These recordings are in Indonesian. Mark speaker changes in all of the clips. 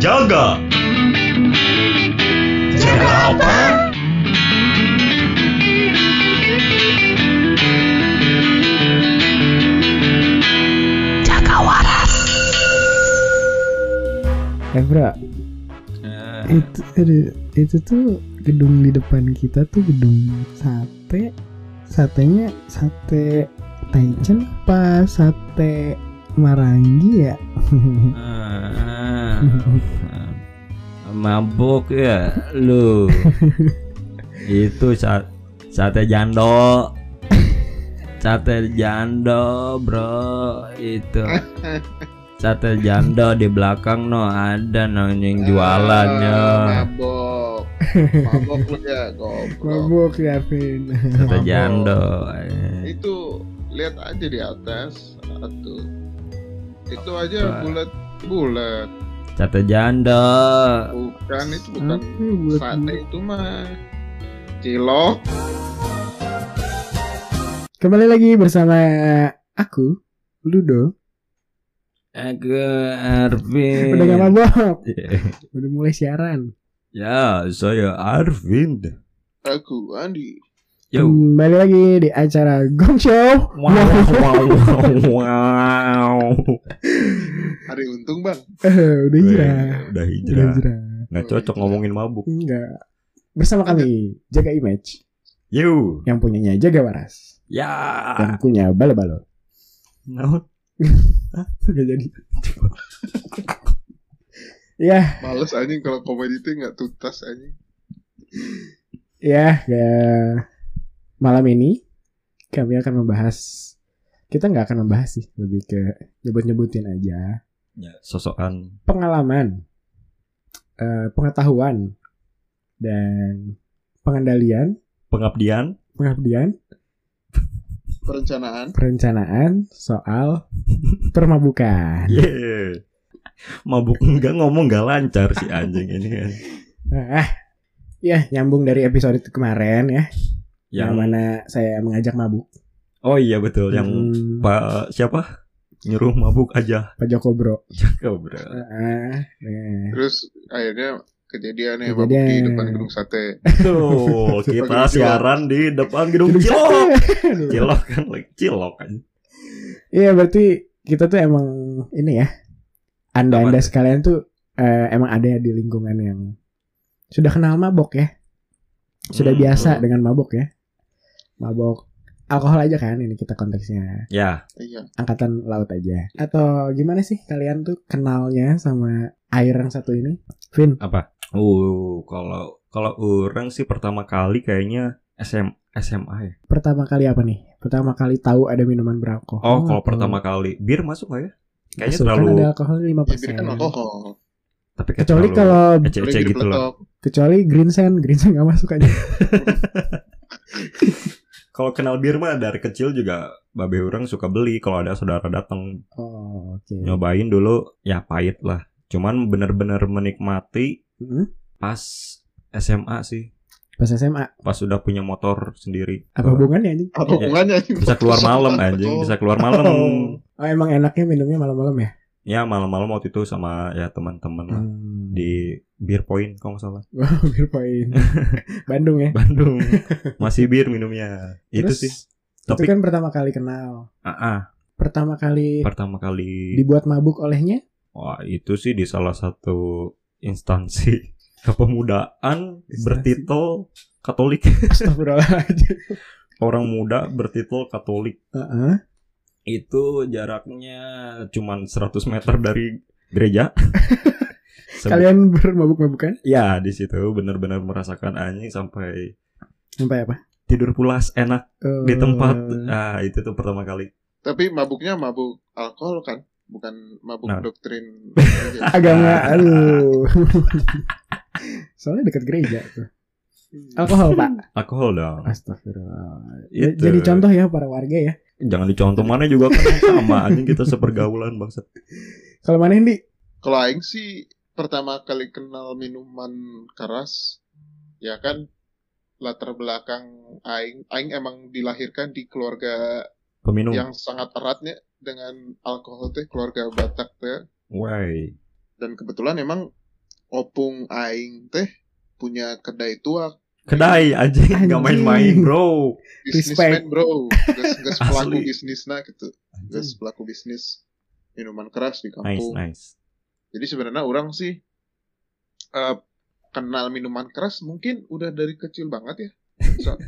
Speaker 1: Jaga. Jaga apa?
Speaker 2: Jaga waras.
Speaker 3: Evra, itu, aduh, itu tuh gedung di depan kita tuh gedung sate. Satenya sate Taichan apa sate Marangi ya?
Speaker 4: Ah, mabuk ya lu itu sa- sate jando sate jando bro itu sate jando di belakang no ada no yang jualannya
Speaker 5: Ah, mabok mabok lu ya goblok
Speaker 3: Mabuk ya, Vin.
Speaker 4: sate
Speaker 5: mabok.
Speaker 4: jando eh.
Speaker 5: itu lihat aja di atas satu itu
Speaker 4: Apa?
Speaker 5: aja bulat bulat
Speaker 4: sate jando
Speaker 5: bukan itu bukan
Speaker 3: Apa ya buat
Speaker 5: sate itu mah cilok
Speaker 3: Kembali lagi bersama aku, Ludo.
Speaker 4: aku
Speaker 1: Eh.
Speaker 4: Arvin
Speaker 3: Udah gak mabok, udah mulai siaran.
Speaker 4: ya saya Arvin
Speaker 5: aku Andi
Speaker 4: yo
Speaker 3: Kembali lagi di acara Gong Show.
Speaker 4: wow wow wow, wow.
Speaker 5: hari untung bang
Speaker 3: Eh, udah
Speaker 4: Weh,
Speaker 3: hijrah.
Speaker 4: Udah
Speaker 3: Udah
Speaker 4: hijrah.
Speaker 3: hijrah.
Speaker 4: Nggak cocok ngomongin mabuk.
Speaker 3: Enggak. Bersama kami, Jaga Image.
Speaker 4: You.
Speaker 3: Yang punyanya Jaga Waras.
Speaker 4: Ya.
Speaker 1: Ah.
Speaker 3: Yang punya Balo-Balo.
Speaker 4: No.
Speaker 3: Gak jadi. ya,
Speaker 5: males anjing kalau komedi itu nggak tuntas anjing
Speaker 3: ya, ya. Malam ini kami akan membahas kita nggak akan membahas sih lebih ke nyebut-nyebutin aja
Speaker 4: Ya, sosokan.
Speaker 3: pengalaman eh, pengetahuan dan pengendalian
Speaker 4: Pengabdian.
Speaker 3: pengabdian
Speaker 5: perencanaan
Speaker 3: perencanaan soal permabukan
Speaker 4: Iya. Yeah. Mabuk enggak ngomong enggak lancar si anjing ini kan.
Speaker 3: Nah, ya nyambung dari episode itu kemarin ya
Speaker 4: Yang
Speaker 3: yang, mana saya mengajak mabuk
Speaker 4: Oh iya betul yang
Speaker 3: Hmm,
Speaker 4: Pak siapa? Nyuruh mabuk aja.
Speaker 3: Pak Joko Bro
Speaker 4: Kau bro.
Speaker 3: Heeh, nah.
Speaker 5: terus akhirnya kejadian yang
Speaker 3: Kejadian.
Speaker 5: di depan gedung sate
Speaker 4: Tuh, kita siaran di depan gedung
Speaker 3: Gedung
Speaker 4: Cilok.
Speaker 3: sate.
Speaker 4: Cilok kan, like, Cilok kan.
Speaker 3: Iya berarti kita tuh emang ini ya Anda-anda
Speaker 4: Apa?
Speaker 3: sekalian tuh eh, emang ada di lingkungan yang sudah kenal mabok ya Sudah
Speaker 4: Hmm,
Speaker 3: biasa
Speaker 4: hmm.
Speaker 3: dengan mabok ya Mabok alkohol aja kan ini kita konteksnya
Speaker 4: Ya,
Speaker 5: iya
Speaker 3: Angkatan laut aja Atau gimana sih kalian tuh kenalnya sama air yang satu ini Vin
Speaker 4: apa? Uh, kalau kalau orang sih pertama kali kayaknya SM SMA ya.
Speaker 3: pertama kali apa nih? Pertama kali tahu ada minuman beralkohol
Speaker 4: Oh, kalau
Speaker 3: atau-
Speaker 4: pertama kali bir masuk nggak ya? Kayaknya
Speaker 3: Masuk, kan
Speaker 4: terlalu
Speaker 3: ada alkohol
Speaker 5: ya
Speaker 3: 5%
Speaker 5: bir kan alkohol
Speaker 4: tapi kayak
Speaker 3: Kecuali
Speaker 4: terlalu
Speaker 3: kalau
Speaker 4: ece-ece
Speaker 5: Boleh bir
Speaker 4: gitu loh.
Speaker 5: peletok.
Speaker 3: kecuali green sand, green sand gak masuk aja.
Speaker 4: Kalau kenal bir mah dari kecil juga babe orang suka beli kalau ada saudara datang
Speaker 3: Oh, oke.
Speaker 4: nyobain dulu ya pahit lah. Cuman bener-bener menikmati
Speaker 3: Hmm?
Speaker 4: pas SMA sih.
Speaker 3: Pas SMA
Speaker 4: Pas sudah punya motor sendiri.
Speaker 3: apa hubungannya anjing?
Speaker 5: apa hubungannya anjing?
Speaker 4: Iya. Bisa keluar malam anjing, bisa keluar malam.
Speaker 3: Oh, emang enaknya minumnya malam-malam ya?
Speaker 4: Ya malam-malam waktu itu sama ya teman-teman lah
Speaker 3: Hmm.
Speaker 4: di beer point kalau nggak salah.
Speaker 3: Wow, Beer Point. Bandung ya.
Speaker 4: Bandung. Masih bir minumnya. itu
Speaker 3: Terus,
Speaker 4: sih.
Speaker 3: Itu
Speaker 4: Tapi
Speaker 3: kan pertama kali kenal.
Speaker 4: ah, ah,
Speaker 3: Pertama kali
Speaker 4: pertama kali
Speaker 3: dibuat mabuk olehnya?
Speaker 4: Wah itu sih di salah satu instansi kepemudaan
Speaker 3: Instansi.
Speaker 4: bertitel Katolik.
Speaker 3: Astagfirullahaladzim.
Speaker 4: Orang muda bertitel Katolik
Speaker 3: Heeh.
Speaker 4: itu jaraknya cuman 100 meter dari gereja. Sebe-
Speaker 3: Kalian bermabuk-mabukan
Speaker 4: Ya di situ benar-benar merasakan anjing sampai
Speaker 3: sampai apa?
Speaker 4: tidur pulas enak
Speaker 3: Eh,
Speaker 4: di tempat. Ah itu tuh pertama kali.
Speaker 5: tapi mabuknya mabuk alkohol kan bukan mabuk
Speaker 4: Nah.
Speaker 5: doktrin Iya. aja.
Speaker 3: agama aduh. Soalnya dekat gereja tuh. Alkohol, Pak.
Speaker 4: Alkohol dong.
Speaker 3: Astagfirullah. Ah, Ya,
Speaker 4: Itu.
Speaker 3: Jadi contoh ya para warga ya.
Speaker 4: Jangan dicontoh mana juga kan sama anjing kita sepergaulan bangsa.
Speaker 3: Kalau mana Hendi?
Speaker 5: kalau aing sih pertama kali kenal minuman keras ya kan latar belakang aing aing emang dilahirkan di keluarga
Speaker 4: Peminum.
Speaker 5: yang sangat eratnya dengan alkohol teh keluarga Batak teh
Speaker 4: Why?
Speaker 5: dan kebetulan emang opung aing teh punya kedai tua
Speaker 4: Kedai anjing nggak
Speaker 3: Anjing.
Speaker 4: main-main bro.
Speaker 3: Respect.
Speaker 5: bisnismen bro gas gas pelaku
Speaker 4: Asli.
Speaker 5: bisnis nah gitu gas pelaku bisnis minuman keras di
Speaker 4: Nice
Speaker 5: kampung
Speaker 4: nice.
Speaker 5: jadi sebenarnya orang sih eh, kenal minuman keras mungkin udah dari kecil banget ya So-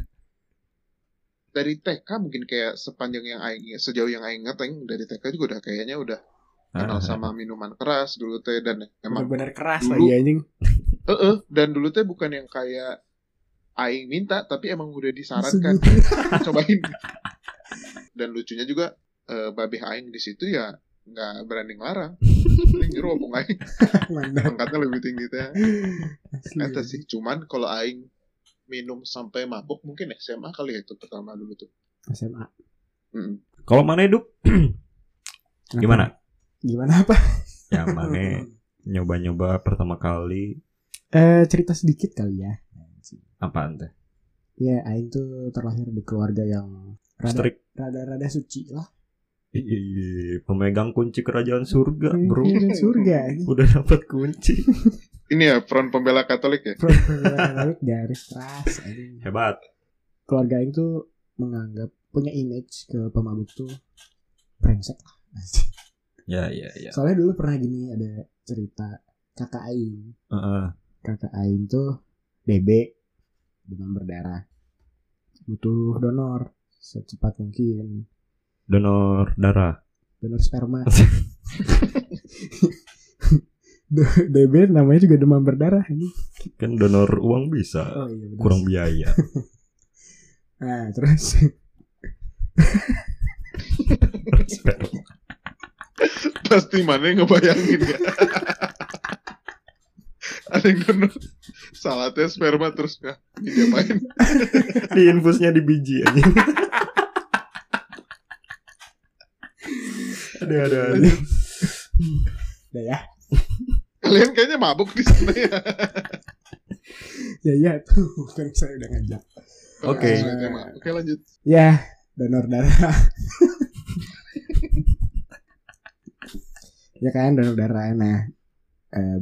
Speaker 5: dari TK mungkin kayak sepanjang yang aing sejauh yang aing ingat aing dari TK juga udah kayaknya udah kenal
Speaker 4: Ah.
Speaker 5: sama minuman keras dulu teh dan emang
Speaker 3: Bener-bener keras
Speaker 5: Dulu-
Speaker 3: lagi anjing.
Speaker 5: Eh, eh, dan dulu teh bukan yang kayak aing minta, tapi emang udah disarankan cobain. Dan lucunya juga eh babeh aing di situ ya nggak berani ngelarang. Ini jero opung aing
Speaker 3: Mantap.
Speaker 5: angkatnya lebih tinggi teh.
Speaker 3: Asli.
Speaker 5: Eta sih cuman kalau aing minum sampai mabuk mungkin SMA kali ya itu pertama dulu tuh.
Speaker 3: SMA.
Speaker 5: Mm.
Speaker 4: Kalau mana hidup?
Speaker 3: Kenapa?
Speaker 4: Gimana?
Speaker 3: Gimana apa?
Speaker 4: Ya mana nyoba-nyoba pertama kali
Speaker 3: Eh cerita sedikit kali ya.
Speaker 4: apaan teh?
Speaker 3: Ya, Aing tuh terlahir di keluarga yang rada-
Speaker 4: Strik.
Speaker 3: rada-rada suci lah.
Speaker 4: Ih, ih, ih, Pemegang kunci kerajaan surga, bro.
Speaker 3: Iya, Dan surga. anjing.
Speaker 4: Udah dapat kunci.
Speaker 5: Ini ya front pembela Katolik ya.
Speaker 3: Profesional garis keras. anjing.
Speaker 4: Hebat.
Speaker 3: Keluarga Aing tuh menganggap punya image ke pemabuk tuh brengsek lah. anjing.
Speaker 4: Ya ya ya.
Speaker 3: Soalnya dulu pernah gini ada cerita kakak Aing.
Speaker 4: Heeh.
Speaker 3: Kakak Aing tuh DB demam berdarah. Butuh donor secepat mungkin.
Speaker 4: Donor darah.
Speaker 3: donor sperma. D- DB namanya juga demam berdarah ini.
Speaker 4: Kan donor uang bisa.
Speaker 3: Oh iya benar.
Speaker 4: Kurang biaya.
Speaker 3: Nah, terus
Speaker 5: Pasti mana yang ngebayangin ya. Ada yang donor. Salah tes sperma terus ya. Dia main.
Speaker 4: Di infusnya di biji aja. aduh, aduh, aduh.
Speaker 3: udah ya.
Speaker 5: Kalian kayaknya mabuk di sana ya.
Speaker 3: Ya ya tuh kan saya udah ngajak.
Speaker 4: Oke.
Speaker 5: Oke, mabuk. Oke, lanjut.
Speaker 3: Ya, donor darah. ya kan donor darah. Nah, eh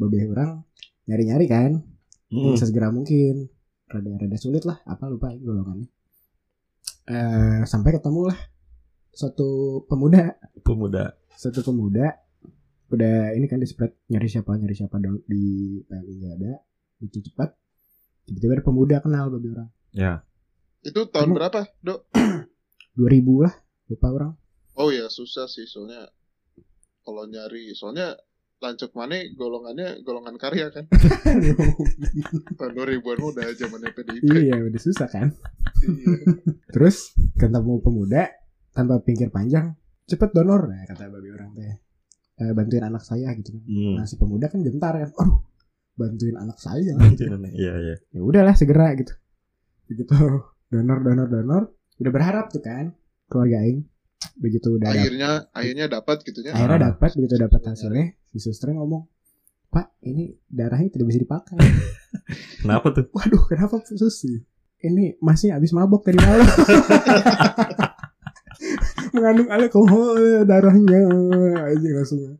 Speaker 3: babeh orang nyari-nyari kan
Speaker 4: Hmm,
Speaker 3: sesegera mungkin rada-rada sulit lah apa lupa ya golongannya Eh, sampai ketemu lah suatu pemuda
Speaker 4: pemuda.
Speaker 3: suatu pemuda udah ini kan di spread nyari siapa nyari siapa dong di PLI nggak ada itu cepat tiba-tiba ada pemuda kenal babi orang
Speaker 5: Itu tahun
Speaker 3: Kamu-
Speaker 5: berapa, Dok?
Speaker 3: 2000 lah lupa orang
Speaker 5: Oh ya, susah sih soalnya kalau nyari soalnya Lancuk mana golongannya golongan karya kan tahun 2000-an mah udah zamannya PDIP
Speaker 3: iya udah susah kan
Speaker 5: Iya.
Speaker 3: terus ketemu pemuda tanpa pinggir panjang cepet donor nah, kata babi orang teh Eh, bantuin anak saya gitu kan
Speaker 4: Hmm.
Speaker 3: Nah si pemuda kan gentar kan, aduh bantuin anak saya. gitu.
Speaker 4: Iya, iya.
Speaker 3: ya udahlah segera gitu. Begitu donor donor donor, udah berharap tuh kan keluarga Aing. Begitu udah dapet,
Speaker 5: akhirnya akhirnya dapat gitunya
Speaker 3: akhirnya
Speaker 4: Ah.
Speaker 3: dapat begitu dapat hasilnya, si suster ngomong, Pak ini darahnya tidak bisa dipakai.
Speaker 4: Kenapa tuh?
Speaker 3: Waduh kenapa Bu Susi? Ini masih habis mabok tadi malam. Mengandung alkohol darahnya, aja langsung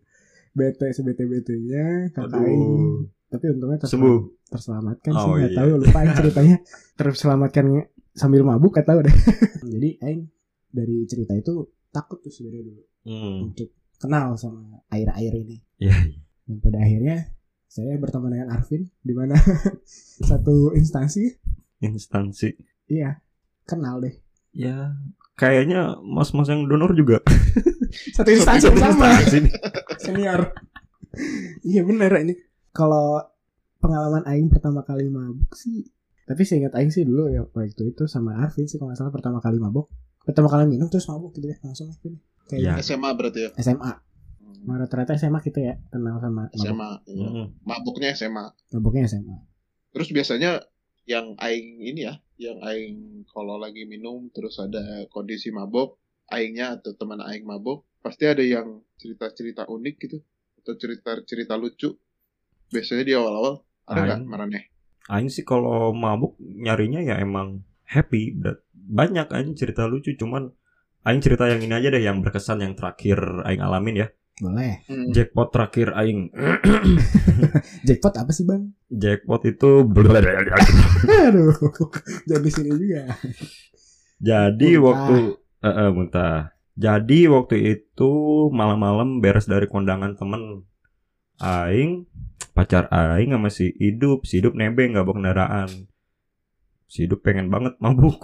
Speaker 3: bete sebete betenya kakak Aing
Speaker 4: Aduh.
Speaker 3: tapi untungnya terselam-
Speaker 4: Sembuh.
Speaker 3: terselamatkan sih
Speaker 4: Oh,
Speaker 3: nggak
Speaker 4: iya.
Speaker 3: tahu lupa aing ceritanya terselamatkan sambil mabuk nggak tahu deh jadi aing dari cerita itu takut tuh sebenarnya dulu
Speaker 4: Hmm.
Speaker 3: untuk kenal sama air-air ini
Speaker 4: Iya.
Speaker 3: dan pada akhirnya saya berteman dengan Arvin di mana satu instansi
Speaker 4: Instansi.
Speaker 3: iya kenal deh
Speaker 4: Ya, kayaknya mas-mas yang donor juga.
Speaker 3: satu instansi yang sama
Speaker 4: Instansi.
Speaker 3: senior iya bener ini kalau pengalaman Aing pertama kali mabuk sih tapi seingat Aing sih dulu ya waktu itu sama Arvin sih kalau nggak salah pertama kali mabuk pertama kali minum terus mabuk gitu ya langsung gitu deh.
Speaker 4: Iya.
Speaker 3: kayak
Speaker 5: SMA berarti ya Hmm,
Speaker 3: SMA Nah, rata-rata SMA kita ya kenal sama mabuk.
Speaker 5: SMA iya.
Speaker 4: Hmm.
Speaker 5: mabuknya SMA
Speaker 3: mabuknya SMA
Speaker 5: terus biasanya yang aing ini ya yang aing kalau lagi minum terus ada kondisi mabok aingnya atau teman aing mabok pasti ada yang cerita-cerita unik gitu atau cerita-cerita lucu biasanya di awal-awal ada nggak
Speaker 4: Aing.
Speaker 5: marane
Speaker 4: Aing sih kalau mabuk nyarinya ya emang happy dan banyak aing cerita lucu cuman aing cerita yang ini aja deh yang berkesan yang terakhir aing alamin ya.
Speaker 3: Boleh.
Speaker 5: Hmm.
Speaker 4: Jackpot terakhir aing.
Speaker 3: Jackpot apa sih bang?
Speaker 4: Jackpot itu
Speaker 3: Aduh, jadi sini juga.
Speaker 4: Jadi
Speaker 3: Muntah.
Speaker 4: waktu eh eh, muntah. Jadi waktu itu malam-malam beres dari kondangan temen aing pacar aing sama si hidup si hidup nebeng nggak bawa kendaraan si hidup pengen banget mabuk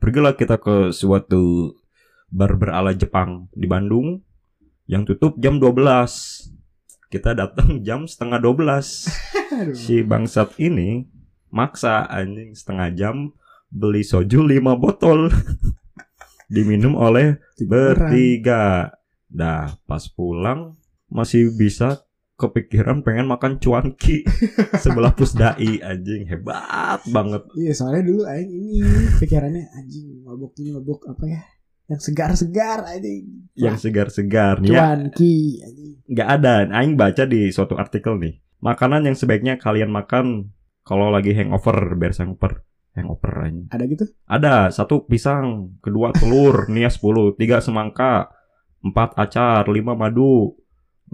Speaker 4: pergilah kita ke suatu bar berala Jepang di Bandung yang tutup jam 12 kita datang jam setengah 12
Speaker 3: Aduh.
Speaker 4: si bangsat ini maksa anjing setengah jam beli soju 5 botol diminum oleh bertiga. Dah pas pulang masih bisa kepikiran pengen makan cuanki sebelah pusdai anjing hebat banget.
Speaker 3: Iya soalnya dulu Aing ini pikirannya anjing mabok ini mabok apa ya yang segar-segar anjing
Speaker 4: Yang segar-segar ya
Speaker 3: cuan ki anjing
Speaker 4: nggak ada. Aing baca di suatu artikel nih. Makanan yang sebaiknya kalian makan kalau lagi hangover, beres hangover, hangover anjing.
Speaker 3: ada gitu
Speaker 4: Ada satu pisang, kedua telur, nia 10, tiga semangka, empat acar, lima madu,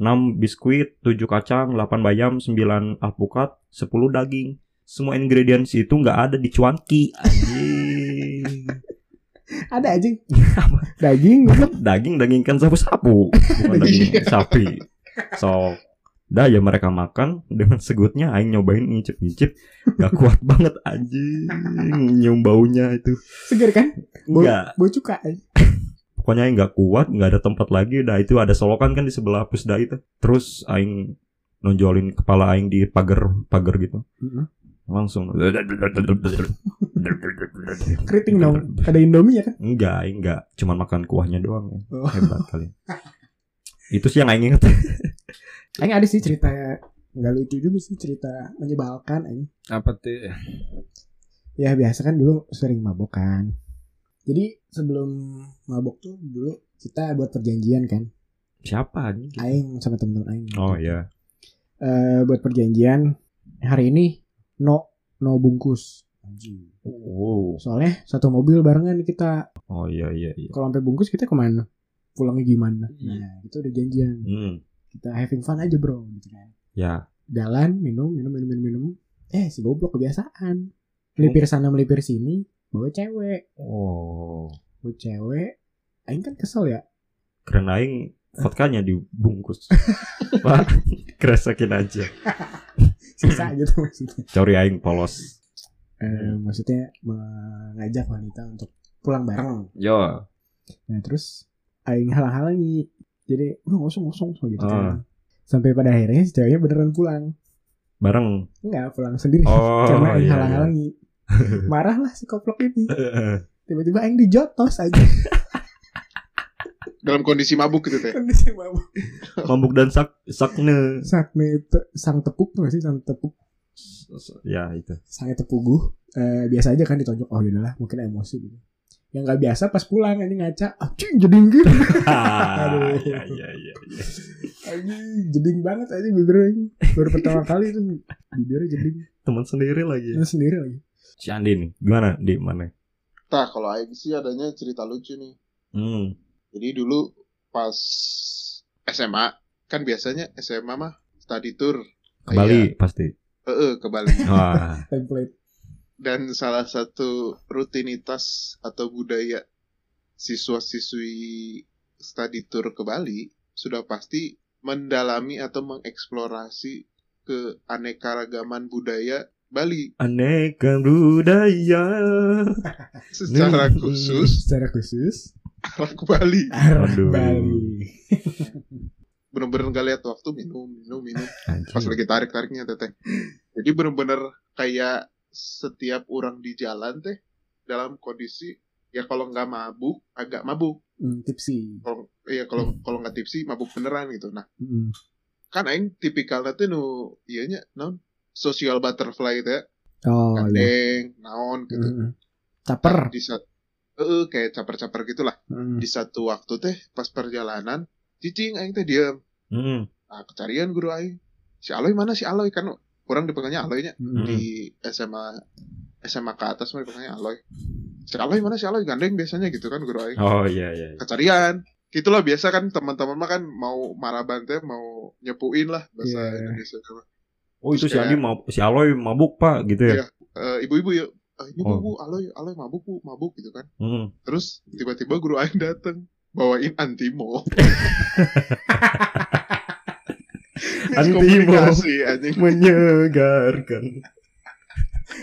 Speaker 4: enam biskuit, tujuh kacang, delapan bayam, sembilan alpukat, sepuluh daging. Semua ingredients itu nggak ada di cuanki. Anjing.
Speaker 3: ada anjing daging goblok.
Speaker 4: daging daging kan sapu-sapu, bukan daging sapi. So, dah ya mereka makan dengan segutnya aing nyobain ngicip-ngicip gak kuat banget anjing nyium baunya itu
Speaker 3: segar kan
Speaker 4: enggak
Speaker 3: bau cuka anjing.
Speaker 4: pokoknya aing nggak kuat nggak ada tempat lagi dah itu ada solokan kan di sebelah pusda itu terus aing nonjolin kepala aing di pagar pagar gitu
Speaker 3: Mm-mm.
Speaker 4: langsung
Speaker 3: keriting dong ada indomie ya kan
Speaker 4: enggak aing enggak cuman makan kuahnya doang ya.
Speaker 3: Oh.
Speaker 4: hebat kali itu sih yang aing inget
Speaker 3: Aing ada sih cerita nggak lucu juga sih cerita menyebalkan anjing
Speaker 4: apa tuh
Speaker 3: Ya biasa kan dulu sering mabok kan. Jadi sebelum mabok tuh dulu kita buat perjanjian kan.
Speaker 4: siapa anjing
Speaker 3: Aing sama temen-temen Aing.
Speaker 4: oh iya
Speaker 3: Eh, buat perjanjian hari ini no no bungkus. Anjing.
Speaker 4: oh
Speaker 3: Soalnya satu mobil barengan kita.
Speaker 4: oh iya iya iya
Speaker 3: Kalau sampai bungkus kita kemana? Pulangnya gimana?
Speaker 4: Iya.
Speaker 3: Nah itu udah janjian.
Speaker 4: hmm
Speaker 3: Kita having fun aja bro. Gitu kan.
Speaker 4: ya
Speaker 3: Jalan minum minum minum minum minum. Eh si goblok kebiasaan. Melipir sana melipir sini bawa cewek.
Speaker 4: oh
Speaker 3: Gue cewek Aing kan kesel ya
Speaker 4: keren aing vodkanya dibungkus pak keresakin aja
Speaker 3: Sisa gitu maksudnya
Speaker 4: Cori aing polos.
Speaker 3: Eh, Maksudnya Mengajak wanita untuk Pulang bareng
Speaker 4: Yo.
Speaker 3: Nah terus Aing halang-halangi Jadi Udah ngosong-ngosong gitu
Speaker 4: Ah.
Speaker 3: kan Sampai pada akhirnya Si ceweknya beneran pulang
Speaker 4: Bareng.
Speaker 3: Enggak pulang sendiri
Speaker 4: Oh.
Speaker 3: Karena
Speaker 4: iya,
Speaker 3: Aing
Speaker 4: iya.
Speaker 3: halang-halangi Marah lah si koplok ini Tiba-tiba Aing dijotos aja
Speaker 5: Dalam kondisi mabuk gitu teh.
Speaker 3: Kondisi mabuk
Speaker 4: Mabuk dan sak sakne.
Speaker 3: Sakne te- Sang tepuk tuh nggak sih Sang tepuk
Speaker 4: Ya itu.
Speaker 3: Sang tepuguh eh, Biasa aja kan ditonjok Oh yaudahlah Mungkin emosi gitu yang nggak biasa pas pulang ini ngaca anjing jadi gitu Aduh.
Speaker 4: Iya iya iya. iya.
Speaker 3: Anjing, jeding banget aja bibirnya ini. Baru pertama kali itu bibirnya jeding.
Speaker 4: Teman sendiri lagi.
Speaker 3: Lu sendiri lagi.
Speaker 4: Si Andi nih. Gimana di mana?
Speaker 5: Tah kalau Aing sih adanya cerita lucu nih.
Speaker 4: Hmm.
Speaker 5: Jadi dulu pas SMA kan biasanya SMA mah study tour
Speaker 4: Ke Bali pasti.
Speaker 5: eh eh, ke Bali.
Speaker 4: Iya. Wah.
Speaker 3: Template.
Speaker 5: Dan salah satu rutinitas atau budaya siswa-siswi study tour ke Bali sudah pasti mendalami atau mengeksplorasi keanekaragaman budaya Bali
Speaker 4: Aneka budaya.
Speaker 5: secara
Speaker 4: Hmm.
Speaker 5: khusus
Speaker 3: Secara khusus
Speaker 5: arah ke Bali.
Speaker 3: arah
Speaker 4: Aduh.
Speaker 3: Bali.
Speaker 5: Bener-bener gak lihat waktu minum, minum, minum. pas
Speaker 3: Iya.
Speaker 4: Anjing.
Speaker 5: lagi tarik tariknya teteh jadi bener-bener kayak setiap orang di jalan teh dalam kondisi ya kalau nggak mabuk agak mabuk
Speaker 3: Hmm, tipsi.
Speaker 5: kalau ya kalau kalau nggak tipsi mabuk beneran gitu nah
Speaker 3: Hmm.
Speaker 5: kan aing tipikalnya tuh nu iya nya naon social butterfly teh
Speaker 3: Oh iya.
Speaker 5: gandeng naon gitu
Speaker 3: Hmm.
Speaker 5: Nah,
Speaker 3: Caper.
Speaker 5: di saat eh kayak caper-caper gitulah
Speaker 3: Hmm.
Speaker 5: di satu waktu teh pas perjalanan cicing aing teh diam
Speaker 4: Hmm.
Speaker 5: nah kecarian guru aing si Aloy mana si Aloy kan orang dipanggilnya Aloy nya
Speaker 3: Hmm.
Speaker 5: di SMA SMA ke atas mereka nanya Aloy si Aloy mana si Aloy gandeng biasanya gitu kan guru Aing
Speaker 4: Oh iya iya. iya.
Speaker 5: kecarian itulah biasa kan teman-teman mah kan mau marah bantai mau nyepuin lah bahasa
Speaker 3: Iya.
Speaker 5: Indonesia Eh,
Speaker 4: Oh itu si
Speaker 5: Terus
Speaker 4: Adi
Speaker 5: kayak-
Speaker 4: mau si Aloy mabuk pak gitu ya.
Speaker 5: Iya. ibu-ibu ya "Eh, ini
Speaker 4: Oh.
Speaker 5: bu, bu aloy aloy mabuk bu mabuk gitu kan
Speaker 4: Hmm.
Speaker 5: terus tiba-tiba guru aing dateng bawain antimo
Speaker 4: Antimo.
Speaker 5: Miskomunikasi, anjing
Speaker 4: Menyegarkan.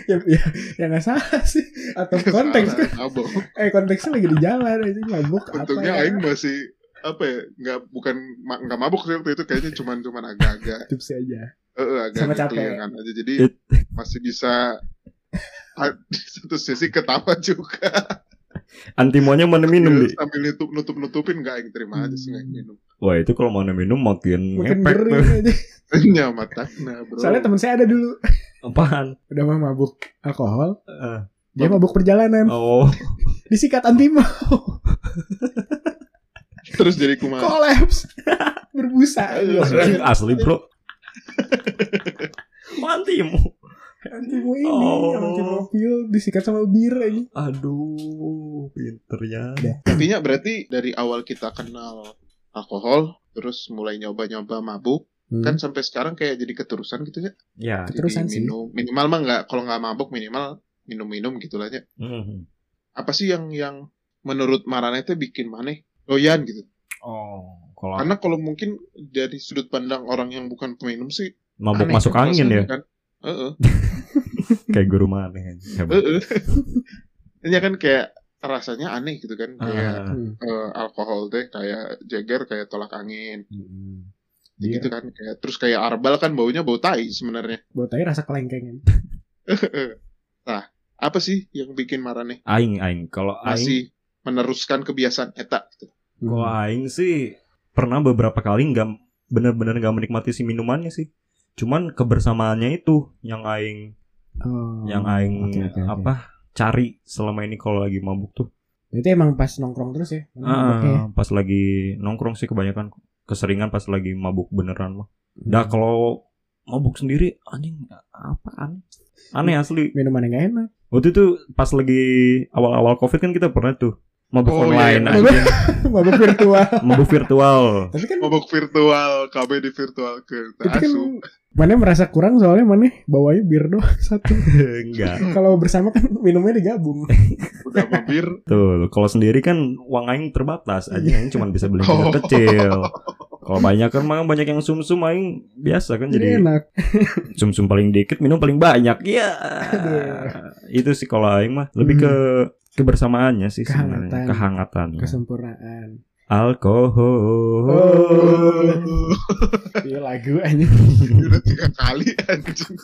Speaker 3: ya, ya, ya gak salah sih atau konteks
Speaker 5: Salah, mabok.
Speaker 3: eh konteksnya lagi di jalan itu mabuk apa
Speaker 5: untungnya
Speaker 3: ya?
Speaker 5: aing masih apa ya nggak bukan ma- nggak mabuk sih waktu itu kayaknya cuman cuman agak-agak
Speaker 3: tips aja
Speaker 5: eh, eh, agak
Speaker 3: Sama
Speaker 5: agak
Speaker 3: capek.
Speaker 5: kelayangan aja jadi
Speaker 4: It-
Speaker 5: masih bisa ah, di satu sisi ketawa juga
Speaker 4: Antimonya mana minum di.
Speaker 5: sambil nutup nutup nutupin nggak aing terima aja sih nggak aing minum
Speaker 4: Wah itu kalau mana minum makin
Speaker 3: mungkin
Speaker 4: ngepek tuh.
Speaker 3: gering aja
Speaker 5: nyamat nah bro
Speaker 3: Hmm. soalnya teman saya ada dulu
Speaker 4: Apaan?
Speaker 3: udah mah mabuk alkohol
Speaker 4: Eh,
Speaker 3: dia mabuk perjalanan
Speaker 4: oh
Speaker 3: disikat antimo
Speaker 5: terus jadi kumaha
Speaker 3: kolaps berbusa
Speaker 4: anjing, asli bro. Oh, Antimo.
Speaker 3: antimo ini
Speaker 4: Oh.
Speaker 3: antimo pil disikat sama bir ini
Speaker 4: Aduh pinternya.
Speaker 5: intinya berarti dari awal kita kenal alkohol terus mulai nyoba-nyoba mabuk
Speaker 4: Hmm.
Speaker 5: kan sampai sekarang kayak jadi keterusan gitu ya
Speaker 4: Ya.
Speaker 5: Jadi
Speaker 3: Keterusan sih.
Speaker 5: minum minimal mah nggak kalau nggak mabuk minimal minum-minum gitu lah ya
Speaker 4: Mhm.
Speaker 5: apa sih yang yang menurut Marana itu bikin maneh doyan gitu
Speaker 4: Oh kalau
Speaker 5: karena kalau mungkin dari sudut pandang orang yang bukan peminum sih
Speaker 4: mabuk
Speaker 5: aneh
Speaker 4: masuk
Speaker 5: kan
Speaker 4: angin ya
Speaker 5: rasanya kan. Heeh.
Speaker 4: kayak guru mana hebat.
Speaker 5: Heeh. Ini kan kayak rasanya aneh gitu kan
Speaker 4: Ah,
Speaker 5: kayak
Speaker 3: Hmm.
Speaker 5: eh, alkohol teh kayak Jagger kayak tolak angin
Speaker 4: mhm.
Speaker 5: Kayak gitu kan kayak terus kayak arbal kan baunya bau tai sebenarnya
Speaker 3: buat aja rasa kelengkengan
Speaker 5: nah apa sih yang bikin Marane
Speaker 4: Aing aing kalau aing
Speaker 5: masih meneruskan kebiasaan eta gitu.
Speaker 4: kalau aing sih pernah beberapa kali nggak bener-bener nggak menikmati si minumannya sih. Cuman kebersamaannya itu yang aing
Speaker 3: Oh,
Speaker 4: yang aing
Speaker 3: oke, oke, oke.
Speaker 4: apa cari selama ini kalau lagi mabuk tuh.
Speaker 3: Berarti emang pas nongkrong terus ya?
Speaker 4: Ah,
Speaker 3: Mabuknya ya?
Speaker 4: pas lagi nongkrong sih kebanyakan keseringan pas lagi mabuk beneran mah. Dah kalau mabuk sendiri anjing apaan? Aneh
Speaker 5: Hmm.
Speaker 4: asli.
Speaker 3: Minuman yang gak enak.
Speaker 4: Waktu itu pas lagi awal-awal Covid kan kita pernah tuh mabuk
Speaker 5: Oh, iya,
Speaker 4: online,
Speaker 5: iya.
Speaker 4: anjing.
Speaker 3: Mabuk virtual.
Speaker 4: mabuk virtual.
Speaker 3: Tapi kan
Speaker 5: mabuk virtual KB di virtual ke
Speaker 3: itu kan mana merasa kurang soalnya mana bawanya bir doang satu.
Speaker 4: Enggak.
Speaker 3: Kalau bersama kan minumnya digabung.
Speaker 5: udah mampir
Speaker 4: Tuh, kalau sendiri kan uang aing terbatas, aja aing cuma bisa beli yang
Speaker 5: Oh.
Speaker 4: kecil. Kalau banyak kan mah banyak yang sumsum aing biasa kan jadi
Speaker 3: Jadi
Speaker 5: Iya,
Speaker 3: enak.
Speaker 4: sumsum paling dikit minum paling banyak. Iya. Itu sih kalau aing mah lebih ke
Speaker 5: Hmm.
Speaker 4: kebersamaannya sih sebenarnya, kehangatan.
Speaker 3: Kehangatan. Kesempurnaan.
Speaker 5: Oh.
Speaker 4: Alkohol.
Speaker 3: Iya lagu aja.
Speaker 5: udah tiga kali anjing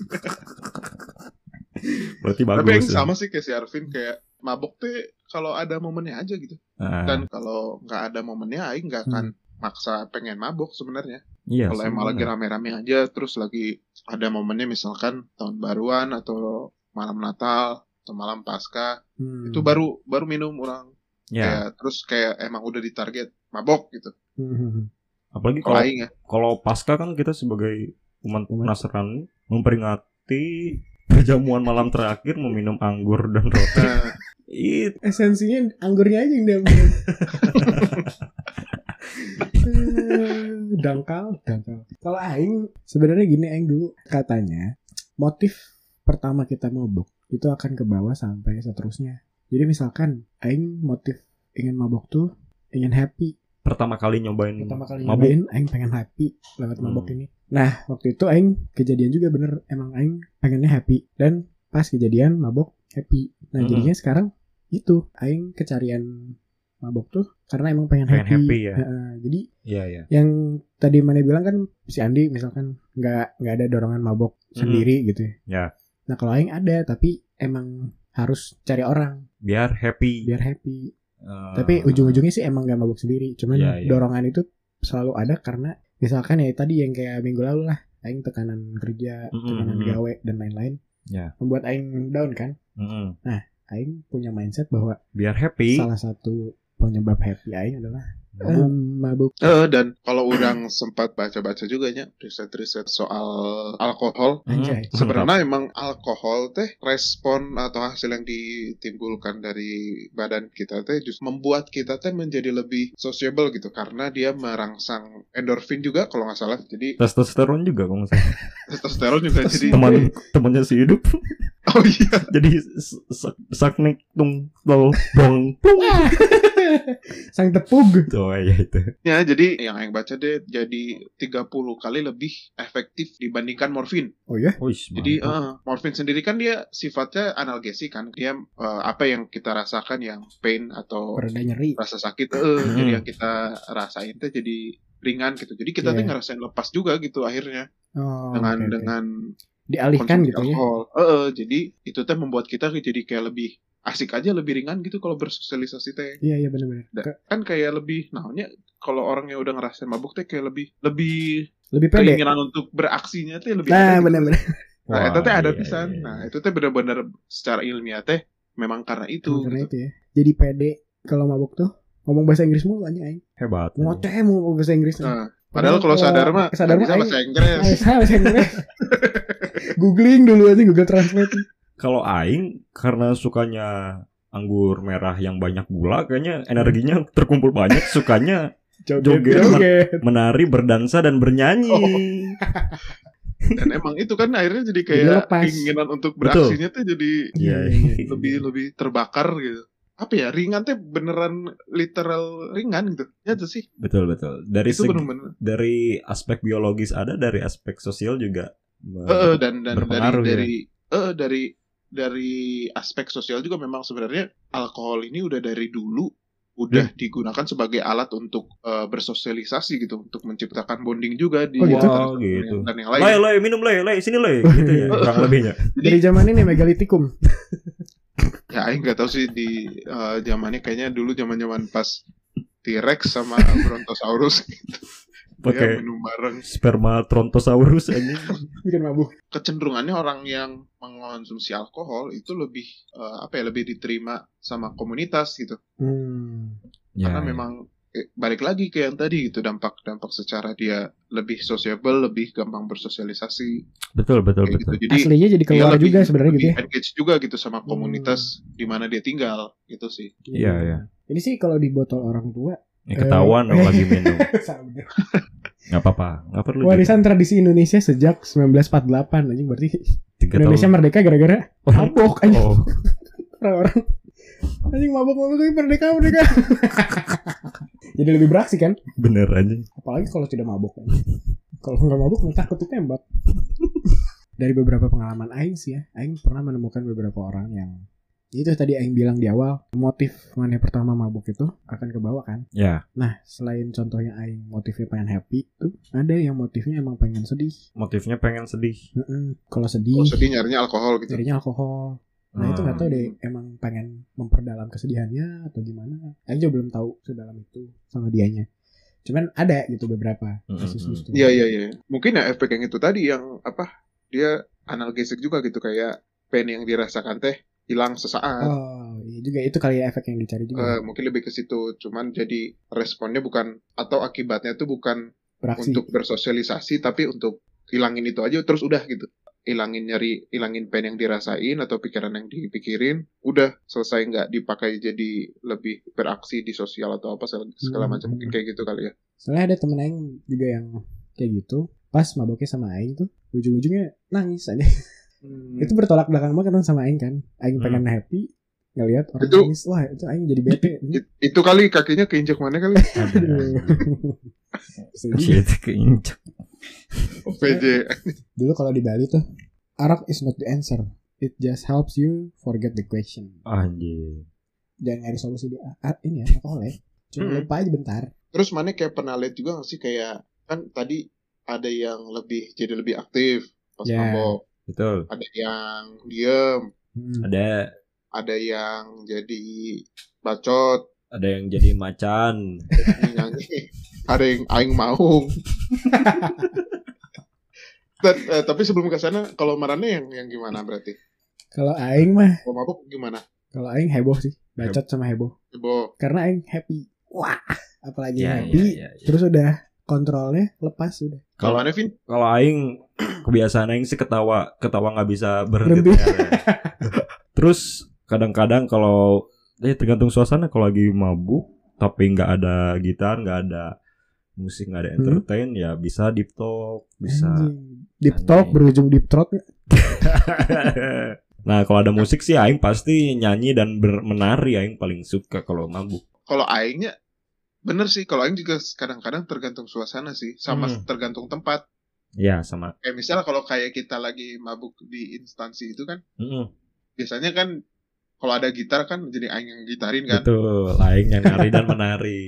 Speaker 4: Berarti bagus.
Speaker 5: tapi yang
Speaker 4: ya.
Speaker 5: sama sih kayak si Arvin kayak mabok teh kalau ada momennya aja gitu
Speaker 4: Ah, Hmm.
Speaker 5: dan kalau nggak ada momennya Aing nggak akan maksa pengen mabok sebenarnya
Speaker 4: iya,
Speaker 5: kalau emang lagi rame-rame aja terus lagi ada momennya misalkan tahun baruan atau malam Natal atau malam Pasca
Speaker 3: Hmm.
Speaker 5: itu baru baru minum orang
Speaker 4: Hmm. Ya,
Speaker 5: kayak terus kayak emang udah ditarget mabok gitu
Speaker 3: Hmm,
Speaker 4: apalagi
Speaker 5: kalau
Speaker 4: kalau
Speaker 5: Aing ya
Speaker 4: kalau pasca kan kita sebagai umat
Speaker 3: Umat.
Speaker 4: Nasrani memperingati perjamuan malam terakhir meminum anggur dan roti.
Speaker 5: Nah,
Speaker 4: It,
Speaker 3: Esensinya anggurnya aja yang dia minum. Eh, dangkal, dangkal. Kalau aing sebenarnya gini aing dulu katanya motif pertama kita mabok itu akan ke bawah sampai seterusnya. Jadi misalkan aing motif ingin mabok tuh ingin happy.
Speaker 4: pertama kali nyobain
Speaker 3: Pertama kali
Speaker 4: mabuk.
Speaker 3: nyobain aing pengen happy lewat
Speaker 4: Hmm.
Speaker 3: mabok ini. Nah, waktu itu aing kejadian juga bener emang aing pengennya happy dan pas kejadian mabok happy. Nah,
Speaker 4: Hmm.
Speaker 3: jadinya sekarang itu aing kecarian mabok tuh karena emang pengen,
Speaker 4: Pengen
Speaker 3: happy.
Speaker 4: happy ya.
Speaker 3: Heeh, jadi
Speaker 4: Iya, iya.
Speaker 3: yang tadi mana bilang kan si Andi misalkan nggak nggak ada dorongan mabok sendiri gitu ya.
Speaker 4: Ya.
Speaker 3: Nah kalau Aing ada tapi emang harus cari orang
Speaker 4: Biar happy.
Speaker 3: biar happy.
Speaker 4: Eh,
Speaker 5: Hmm.
Speaker 3: Tapi ujung-ujungnya sih emang nggak mabok sendiri. Cuman
Speaker 5: Iya,
Speaker 4: Ya, ya.
Speaker 3: dorongan itu selalu ada karena misalkan ya tadi yang kayak minggu lalu lah Aing tekanan kerja,
Speaker 4: Mm-mm,
Speaker 3: tekanan
Speaker 4: mm-mm.
Speaker 3: gawe dan lain-lain.
Speaker 4: Ya.
Speaker 3: Membuat Aing down kan.
Speaker 4: mm-mm.
Speaker 3: Aing punya mindset bahwa
Speaker 4: biar happy.
Speaker 3: salah satu penyebab happy Aing adalah Em, mabuk
Speaker 5: Eh, dan kalau orang sempat baca-baca juga ya riset-riset soal alkohol.
Speaker 3: anjay.
Speaker 4: Mantap.
Speaker 5: Sebenarnya emang alkohol teh respon atau hasil yang ditimbulkan dari badan kita teh justru membuat kita teh menjadi lebih sociable gitu karena dia merangsang endorfin juga kalau nggak salah. Jadi
Speaker 4: testosteron juga kalau nggak salah.
Speaker 5: testosteron juga jadi
Speaker 4: teman temannya si hidup
Speaker 5: Oh iya.
Speaker 4: jadi s- s- saknik tung tol bong plung
Speaker 3: Sang tepug.
Speaker 4: tuh ya itu
Speaker 5: Ya, jadi yang yang baca deh jadi 30 kali lebih efektif dibandingkan morfin.
Speaker 3: Oh ya?
Speaker 4: Wih,
Speaker 5: Jadi
Speaker 4: mantap.
Speaker 5: eh, morfin sendiri kan dia sifatnya analgesik kan. Dia eh, apa yang kita rasakan yang pain atau
Speaker 3: Pereda nyeri.
Speaker 5: rasa sakit eh,
Speaker 4: Hmm.
Speaker 5: jadi yang kita rasain teh jadi ringan gitu. Jadi kita tuh
Speaker 3: Iya.
Speaker 5: ngerasain lepas juga gitu akhirnya
Speaker 3: Oh,
Speaker 5: dengan
Speaker 3: oke, oke.
Speaker 5: dengan
Speaker 3: dialihkan
Speaker 5: konsumsi
Speaker 3: gitu ya.
Speaker 5: alkohol. Eh, eh, jadi itu teh membuat kita jadi kayak lebih asik aja lebih ringan gitu kalau bersosialisasi teh
Speaker 3: Iya iya benar-benar.
Speaker 5: Da-
Speaker 3: Ke-
Speaker 5: kan kayak lebih naonnya kalau orang yang udah ngerasain mabuk teh kayak lebih lebih
Speaker 3: Lebih pede.
Speaker 5: keinginan untuk beraksinya teh lebih ada
Speaker 3: Nah
Speaker 5: gitu.
Speaker 3: benar-benar.
Speaker 5: Nah,
Speaker 4: Wah,
Speaker 5: itu teh ada
Speaker 4: iya,
Speaker 5: pisan.
Speaker 4: iya, iya.
Speaker 5: Nah, itu teh benar-benar secara ilmiah teh memang karena itu.
Speaker 3: Karena
Speaker 5: gitu.
Speaker 3: itu ya. Jadi pede kalau mabuk tuh ngomong bahasa Inggris mulu anjing aing.
Speaker 4: hebat
Speaker 3: Ngoceh mau bahasa Inggris. nih.
Speaker 5: Nah, padahal kalau sadar mah
Speaker 3: ya, sadar mah
Speaker 5: bisa
Speaker 3: aing-
Speaker 5: bahasa Inggris.
Speaker 3: aing bisa bahasa Inggris. Googling dulu aja Google Translate.
Speaker 4: kalau aing karena sukanya anggur merah yang banyak gula kayaknya energinya terkumpul banyak sukanya Joget. menari berdansa dan bernyanyi
Speaker 5: Oh. Dan emang itu kan akhirnya jadi
Speaker 3: Jadi
Speaker 5: kayak
Speaker 3: lepas.
Speaker 5: keinginan untuk
Speaker 4: Betul.
Speaker 5: beraksinya tuh jadi
Speaker 4: Iya, iya.
Speaker 5: lebih lebih terbakar gitu. Apa ya ringan teh beneran literal ringan gitu. Ya tuh sih.
Speaker 4: betul betul dari
Speaker 5: itu
Speaker 4: segi-
Speaker 5: bener-bener.
Speaker 4: dari aspek biologis ada dari aspek sosial juga
Speaker 5: Eh, eh, dan dan dari
Speaker 4: berpengaruh ya.
Speaker 5: dari eh, eh, dari dari aspek sosial juga memang sebenarnya alkohol ini udah dari dulu udah digunakan sebagai alat untuk eh, bersosialisasi gitu untuk menciptakan bonding juga di
Speaker 3: Oh, gitu?
Speaker 5: antara
Speaker 4: Oh,
Speaker 5: satu
Speaker 4: gitu.
Speaker 5: dan yang lain.
Speaker 4: lay lay minum lay lay sini lay gitu ya
Speaker 5: Eh,
Speaker 4: kurang lebihnya
Speaker 3: Dari zaman ini megalitikum.
Speaker 5: Ya aing nggak tahu sih di eh, zamannya kayaknya dulu zaman-zaman pas T-Rex sama Brontosaurus dia
Speaker 4: pakai
Speaker 5: minum bareng.
Speaker 4: sperma trontosaurus aja
Speaker 3: Bikin mabuk.
Speaker 5: Kecenderungannya orang yang mengonsumsi alkohol itu lebih eh, apa ya lebih diterima sama komunitas gitu.
Speaker 3: Hmm.
Speaker 4: ya,
Speaker 5: karena memang eh, balik lagi ke yang tadi gitu dampak-dampak secara dia lebih sociable, lebih gampang bersosialisasi
Speaker 4: betul betul
Speaker 5: kayak
Speaker 4: betul
Speaker 5: gitu. Jadi
Speaker 3: Aslinya jadi
Speaker 5: dia
Speaker 3: keluar
Speaker 5: lebih-
Speaker 3: juga sebenarnya gitu
Speaker 5: lebih
Speaker 3: ya. Hmm.
Speaker 5: engage juga gitu sama komunitas di mana dia tinggal gitu sih.
Speaker 4: iya iya
Speaker 3: Ini sih kalau di botol orang tua
Speaker 4: Ya, ketahuan
Speaker 3: Eh.
Speaker 4: kalau lagi minum
Speaker 3: sama.
Speaker 4: nggak apa-apa nggak perlu
Speaker 3: Warisan tradisi Indonesia sejak 1948 anjing berarti
Speaker 4: Tiga
Speaker 3: Indonesia
Speaker 4: tahun.
Speaker 3: merdeka gara-gara
Speaker 4: Orang-
Speaker 3: mabok anjing
Speaker 4: oh
Speaker 3: orang-orang. Anjing mabok-mabok tapi merdeka merdeka. Jadi lebih beraksi kan?
Speaker 4: bener aja
Speaker 3: Apalagi kalau tidak mabok. kalau nggak mabok mah takut ditembak. Dari beberapa pengalaman Aing sih ya, Aing pernah menemukan beberapa orang yang ya itu tadi Aing bilang di awal motif mana pertama mabuk itu akan kebawa kan
Speaker 4: ya
Speaker 3: Nah, selain contohnya Aing motifnya pengen happy, tuh ada yang motifnya emang pengen sedih.
Speaker 4: motifnya pengen sedih
Speaker 3: Heeh. Kalau
Speaker 5: Kalau
Speaker 3: sedih,
Speaker 5: sedih nyarinya alkohol gitu.
Speaker 3: jadinya alkohol. Nah, itu
Speaker 4: Ah.
Speaker 3: nggak tahu deh emang pengen memperdalam kesedihannya atau gimana. Aing juga belum tahu sedalam itu sama dianya. Cuman ada gitu beberapa
Speaker 4: Mm-mm.
Speaker 3: kasus gitu. itu.
Speaker 5: Iya iya iya. Mungkin ya efek yang itu tadi yang apa dia analgesik juga gitu kayak pain yang dirasakan teh hilang sesaat.
Speaker 3: Oh, iya juga itu kali ya efek yang dicari juga.
Speaker 5: Eh, mungkin lebih ke situ, cuman jadi responnya bukan atau akibatnya tuh bukan
Speaker 3: beraksi.
Speaker 5: untuk bersosialisasi tapi untuk hilangin itu aja terus udah gitu hilangin nyari hilangin pen yang dirasain atau pikiran yang dipikirin udah selesai nggak dipakai jadi lebih beraksi di sosial atau apa segala- segala
Speaker 3: Hmm.
Speaker 5: macam mungkin kayak gitu kali ya
Speaker 3: Soalnya ada temen Aing juga yang kayak gitu. Pas maboknya sama Aing tuh, ujung-ujungnya nangis aja.
Speaker 5: Hmm.
Speaker 3: itu bertolak belakang banget kan sama Aing kan Aing
Speaker 4: Hmm.
Speaker 3: pengen happy ngelihat orang
Speaker 5: Itu-
Speaker 3: nangis wah itu Aing jadi bete
Speaker 5: It- itu kali kakinya keinjak mana kali
Speaker 4: Aduh.
Speaker 3: Aduh. Sedih.
Speaker 4: Shit, keinjak.
Speaker 5: PJ
Speaker 3: dulu kalau di Bali tuh Arab is not the answer it just helps you forget the question
Speaker 4: Anjir.
Speaker 3: jangan nyari solusi di ah, ini ya alkohol ya cuma
Speaker 5: Hmm.
Speaker 3: lupa aja bentar
Speaker 5: terus mana kayak pernah lihat juga nggak sih kayak kan tadi ada yang lebih jadi lebih aktif pas
Speaker 3: Ya.
Speaker 5: mabok
Speaker 4: Betul.
Speaker 5: ada yang diem
Speaker 3: Hmm.
Speaker 4: Ada
Speaker 5: ada yang jadi bacot
Speaker 4: ada yang jadi macan.
Speaker 5: nyanyi ada yang aing mau Ta- eh, tapi sebelum ke sana kalau marane yang yang gimana berarti
Speaker 3: kalau Aing mah
Speaker 5: kalau mabuk gimana
Speaker 3: kalau Aing heboh sih bacot sama heboh
Speaker 5: Bo,
Speaker 3: karena Aing happy wah apalagi
Speaker 4: Ya,
Speaker 3: happy
Speaker 4: ya, ya, ya.
Speaker 3: terus udah kontrolnya lepas udah
Speaker 5: Kalau
Speaker 4: Kalau
Speaker 5: mana Vin?
Speaker 4: kalau aing kebiasaan aing sih ketawa ketawa nggak bisa
Speaker 3: Berhenti.
Speaker 4: berhenti. ya. Terus kadang-kadang kalau eh tergantung suasana kalau lagi mabuk tapi nggak ada gitar, nggak ada musik, nggak ada entertain ya bisa deep talk, bisa
Speaker 3: Anjing. deep talk
Speaker 4: Anjing.
Speaker 3: berujung deep throat nggak?
Speaker 4: nah kalau ada musik sih Aing pasti nyanyi dan ber- menari Aing paling suka kalau mabuk
Speaker 5: Kalau aingnya bener sih. Kalau aing juga kadang-kadang tergantung suasana sih, sama
Speaker 4: Hmm.
Speaker 5: tergantung tempat.
Speaker 4: ya sama
Speaker 5: Kayak misalnya kalau kayak kita lagi mabuk di instansi itu kan,
Speaker 4: Mm-mm,
Speaker 5: biasanya kan kalau ada gitar kan jadi aing yang gitarin kan.
Speaker 4: betul Aing yang nari dan menari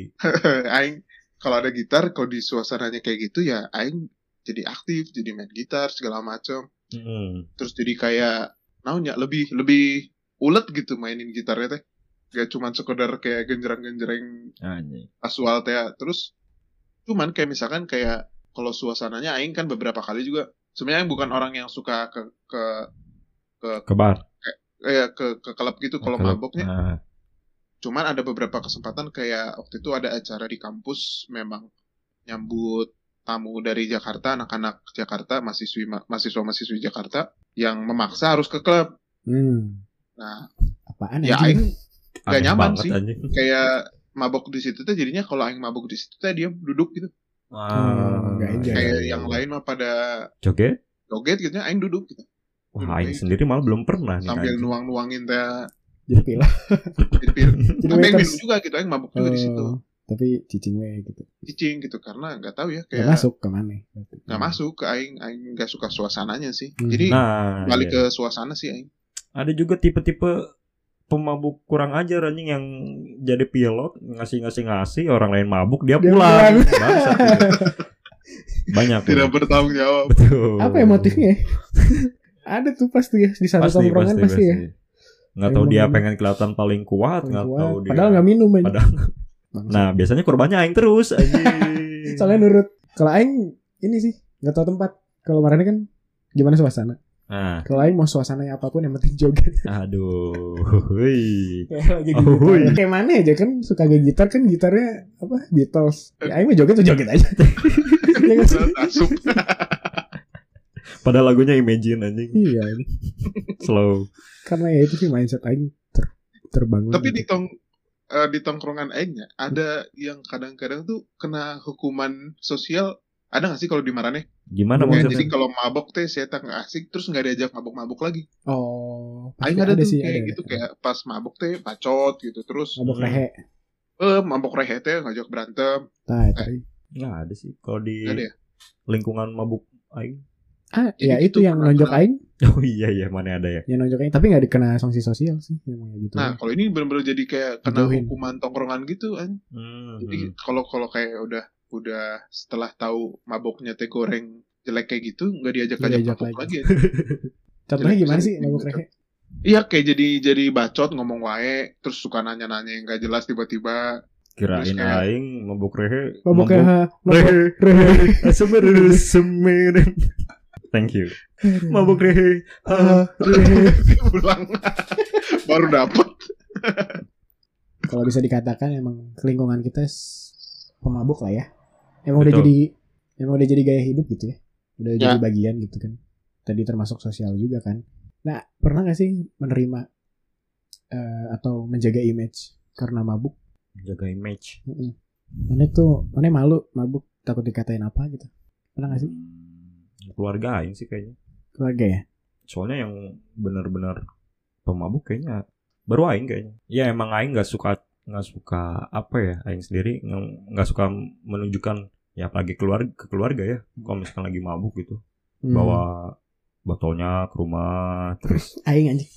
Speaker 5: aing kalau ada gitar, kalau di suasananya kayak gitu ya aing jadi aktif, jadi main gitar segala macam.
Speaker 4: Mm.
Speaker 5: Terus jadi kayak naunya lebih lebih ulet gitu mainin gitarnya teh. Gak cuman sekedar kayak genjerang-genjereng
Speaker 4: Anjing.
Speaker 5: kasual teh ya. terus cuman kayak misalkan kayak kalau suasananya aing kan beberapa kali juga sebenarnya Aing bukan orang yang suka ke ke
Speaker 4: ke bar
Speaker 5: eh, ke ke klub gitu kalau
Speaker 4: Kalau-
Speaker 5: maboknya
Speaker 4: Nah,
Speaker 5: cuman ada beberapa kesempatan kayak waktu itu ada acara di kampus memang nyambut tamu dari Jakarta anak-anak Jakarta mahasiswi mahasiswa mahasiswi Jakarta yang memaksa harus ke klub
Speaker 3: hmm.
Speaker 5: nah
Speaker 3: apaan
Speaker 5: ya
Speaker 3: anjing?
Speaker 5: aing Nggak
Speaker 4: aneh
Speaker 5: nyaman
Speaker 4: banget,
Speaker 5: sih.
Speaker 4: anjing.
Speaker 5: kayak mabok di situ teh jadinya kalau aing mabok di situ teh dia duduk gitu
Speaker 4: Wah,
Speaker 3: nggak
Speaker 4: iya,
Speaker 3: enjoy.
Speaker 5: kayak
Speaker 4: iya,
Speaker 5: yang
Speaker 4: iya.
Speaker 5: lain mah pada
Speaker 4: joget
Speaker 5: joget gitu aing duduk gitu
Speaker 4: wah Aing sendiri malah belum pernah nih
Speaker 5: sambil
Speaker 4: Iya, anjing.
Speaker 5: nuang-nuangin teh
Speaker 3: jadi pilah
Speaker 5: jadi pir-
Speaker 3: jadi
Speaker 5: tapi yang
Speaker 3: waiters.
Speaker 5: minum juga gitu yang mabuk juga di situ
Speaker 3: Oh, tapi cicing we gitu
Speaker 5: cicing gitu karena nggak tahu ya
Speaker 3: nggak
Speaker 5: kayak
Speaker 3: masuk kemana
Speaker 5: nggak masuk ke aing aing nggak suka suasananya sih
Speaker 3: Hmm.
Speaker 5: jadi
Speaker 4: nah
Speaker 5: balik
Speaker 4: iya.
Speaker 5: ke suasana sih aing
Speaker 4: ada juga tipe-tipe pemabuk kurang ajar anjing yang jadi pilot ngasih ngasih ngasih orang lain mabuk dia,
Speaker 3: Dia
Speaker 4: pulang,
Speaker 3: pulang.
Speaker 4: Bangsat gitu. banyak
Speaker 5: tidak
Speaker 4: Bang.
Speaker 5: bertanggung jawab
Speaker 4: betul
Speaker 3: apa ya motifnya ada tuh pasti ya di satu tongkrongan pasti, ya
Speaker 4: nggak
Speaker 3: Yang
Speaker 4: tahu dia
Speaker 3: mungkin-
Speaker 4: pengen kelihatan paling kuat
Speaker 3: Paling
Speaker 4: nggak
Speaker 3: kuat.
Speaker 4: tahu dia
Speaker 3: padahal nggak minum aja.
Speaker 4: Padahal-
Speaker 3: Bangsa.
Speaker 4: nah biasanya korbannya aing terus
Speaker 5: Iya.
Speaker 4: anjing
Speaker 3: soalnya nurut kalau aing ini sih nggak tahu tempat kalau marane kan gimana suasana
Speaker 4: nah
Speaker 3: kalau aing mau suasananya apapun yang penting joget
Speaker 4: aduh Hui.
Speaker 3: kayak lagi di
Speaker 4: Oh,
Speaker 3: gitar.
Speaker 4: iya.
Speaker 3: kayak mana aja kan suka kayak gitar kan gitarnya apa Beatles ya, aing mau joget tuh joget aja ya, nggak sih?
Speaker 5: asup
Speaker 4: padahal lagunya imagine anjing
Speaker 3: iya
Speaker 4: slow
Speaker 3: karena ya itu sih mindset aing ter- terbangun gitu.
Speaker 5: tapi di tong eh, di tongkrongan aingnya ada yang kadang-kadang tuh kena hukuman sosial ada nggak sih kalau di Marane?
Speaker 4: gimana
Speaker 3: Nggak,
Speaker 5: Kayak
Speaker 4: maksudnya
Speaker 5: jadi kalau mabok teh saya nggak asik, terus nggak diajak mabok-mabok lagi.
Speaker 3: oh pasti
Speaker 5: Aing ada, tuh
Speaker 3: sih,
Speaker 5: kayak
Speaker 3: ada,
Speaker 5: gitu
Speaker 3: ada.
Speaker 5: kayak pas mabok teh pacot gitu, terus
Speaker 3: mabok rehe
Speaker 5: eh mabok rehe teh ngajak berantem.
Speaker 3: nah itu aing.
Speaker 4: nggak ada sih kalau di
Speaker 5: Nggak ada ya?
Speaker 4: lingkungan mabuk aing
Speaker 3: ah
Speaker 5: Jadi
Speaker 3: ya
Speaker 5: gitu,
Speaker 3: itu yang
Speaker 5: kenapa?
Speaker 3: nonjok aing
Speaker 4: oh iya iya mana ada ya
Speaker 3: yang nonjok aing tapi nggak dikena sanksi sosial sih memang gitu
Speaker 5: Nah, kalau ini benar-benar jadi kayak kena
Speaker 3: Dijauhin.
Speaker 5: hukuman tongkrongan gitu kan.
Speaker 3: Hmm.
Speaker 5: Jadi kalau kalau kayak udah udah setelah tahu maboknya teh goreng jelek kayak gitu nggak diajak
Speaker 3: Nggak
Speaker 5: ajak
Speaker 3: diajak
Speaker 5: mabok
Speaker 3: lagi.
Speaker 5: lagi. ya.
Speaker 3: contohnya
Speaker 5: jadi
Speaker 3: gimana
Speaker 5: bisa
Speaker 3: sih
Speaker 5: di-
Speaker 3: mabok rehe
Speaker 5: Iya kayak jadi jadi bacot ngomong wae terus suka nanya-nanya yang gak jelas tiba-tiba.
Speaker 4: kirain
Speaker 5: Terus kayak-
Speaker 4: aing mabuk rehe
Speaker 3: mabok rehe mabok
Speaker 4: rehe
Speaker 3: rehe
Speaker 4: Semeru semeru. Thank you. Mabuk rehe. Ah.
Speaker 5: Pulang baru dapet.
Speaker 3: kalau bisa dikatakan emang lingkungan kita s- pemabuk lah ya. Emang udah
Speaker 4: Betul.
Speaker 3: jadi emang udah jadi gaya hidup gitu ya. Udah
Speaker 5: Ya.
Speaker 3: jadi bagian gitu kan. Tadi termasuk sosial juga kan. Nah, pernah gak sih menerima eh, atau menjaga image karena mabuk?
Speaker 4: Jaga image.
Speaker 3: Mm-mm. Mana tuh, mana malu mabuk takut dikatain apa gitu. Pernah gak sih
Speaker 4: Hmm, Keluarga aing sih kayaknya.
Speaker 3: keluarga ya?
Speaker 4: Soalnya yang benar-benar pemabuk kayaknya baru aing kayaknya. Ya emang aing nggak suka nggak suka apa ya aing sendiri nge- nggak suka menunjukkan ya apalagi keluarga ke keluarga ya kalau misalkan lagi mabuk gitu
Speaker 3: Hmm.
Speaker 4: bawa botolnya ke rumah terus
Speaker 3: aing anjing.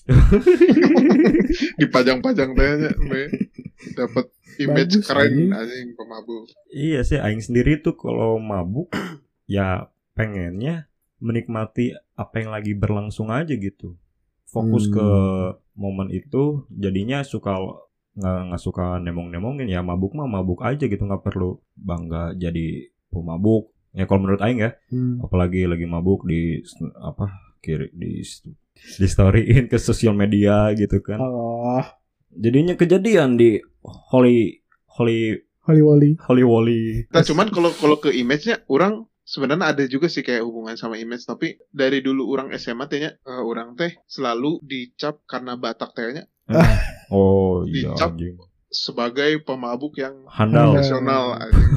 Speaker 5: Dipajang-pajang tehnya Be. dapet image
Speaker 3: Bagus,
Speaker 5: keren
Speaker 3: anjing.
Speaker 5: anjing pemabuk.
Speaker 4: Iya sih, Aing sendiri tuh kalau mabuk ya pengennya menikmati apa yang lagi berlangsung aja gitu. Fokus
Speaker 3: Hmm.
Speaker 4: ke momen itu, jadinya suka nggak nggak suka nemong-nemongin ya mabuk mah mabuk aja gitu nggak perlu bangga jadi pemabuk. Ya kalau menurut Aing ya,
Speaker 3: Hmm.
Speaker 4: apalagi lagi mabuk di apa kiri di di storyin ke sosial media gitu kan.
Speaker 3: Oh,
Speaker 4: Jadinya kejadian di Holy Holy
Speaker 3: Holy Wally.
Speaker 4: Holy Wally.
Speaker 5: Nah, cuman kalau kalau ke image-nya orang sebenarnya ada juga sih kayak hubungan sama image tapi dari dulu orang SMA tehnya eh, orang teh selalu dicap karena Batak tehnya
Speaker 4: Oh iya
Speaker 5: Dicap.
Speaker 4: anjing.
Speaker 5: sebagai pemabuk yang
Speaker 4: Handal.
Speaker 3: Handal.
Speaker 5: nasional. anjing.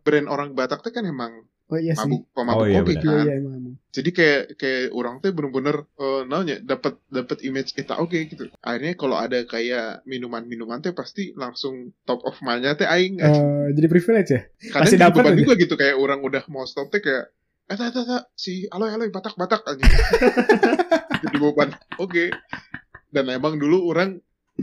Speaker 5: Brand orang Batak teh kan emang
Speaker 3: Oh iya sih.
Speaker 5: mabuk pemabuk
Speaker 4: Oh, iya,
Speaker 5: kopi
Speaker 4: benar.
Speaker 5: kan.
Speaker 3: Iya, iya emang. emang.
Speaker 5: Jadi kayak kayak orang teh bener-bener eh naonnya dapat dapat image kita oke gitu. Akhirnya kalau ada kayak minuman-minuman teh pasti langsung top of mind-nya teh aing.
Speaker 4: Iya.
Speaker 5: anjing.
Speaker 3: Eh, jadi privilege ya?
Speaker 5: Kadang
Speaker 3: Masih
Speaker 5: jadi
Speaker 3: dapet
Speaker 5: beban
Speaker 3: aja.
Speaker 5: juga gitu kayak orang udah mau stop teh kayak eh tak tak tak si aloy aloy batak batak aja jadi beban oke dan emang dulu orang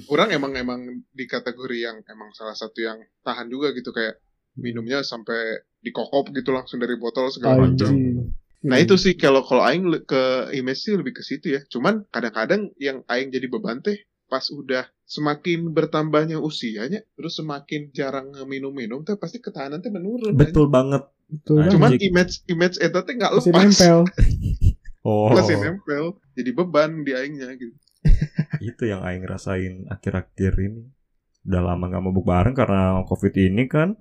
Speaker 5: orang emang emang di kategori yang emang salah satu yang tahan juga gitu kayak minumnya sampai dikokop gitu langsung dari botol
Speaker 3: Oh, iya.
Speaker 5: segala macam
Speaker 4: Anjing.
Speaker 5: Nah itu
Speaker 3: Hmm.
Speaker 5: sih kalau kalau aing le- ke image sih lebih ke situ ya. Cuman kadang-kadang yang aing jadi beban teh pas udah semakin bertambahnya usianya, terus semakin jarang minum-minum teh pasti ketahanan teh menurun.
Speaker 4: Betul banget. Nah,
Speaker 3: Betul banget.
Speaker 5: Cuman
Speaker 4: Anjing.
Speaker 5: image image eta teh nggak
Speaker 3: Masih
Speaker 5: lepas.
Speaker 3: nempel.
Speaker 4: Oh.
Speaker 5: Masih nempel. Jadi beban di aingnya gitu.
Speaker 4: itu yang aing rasain akhir-akhir ini. Udah lama nggak mabuk bareng karena covid ini kan.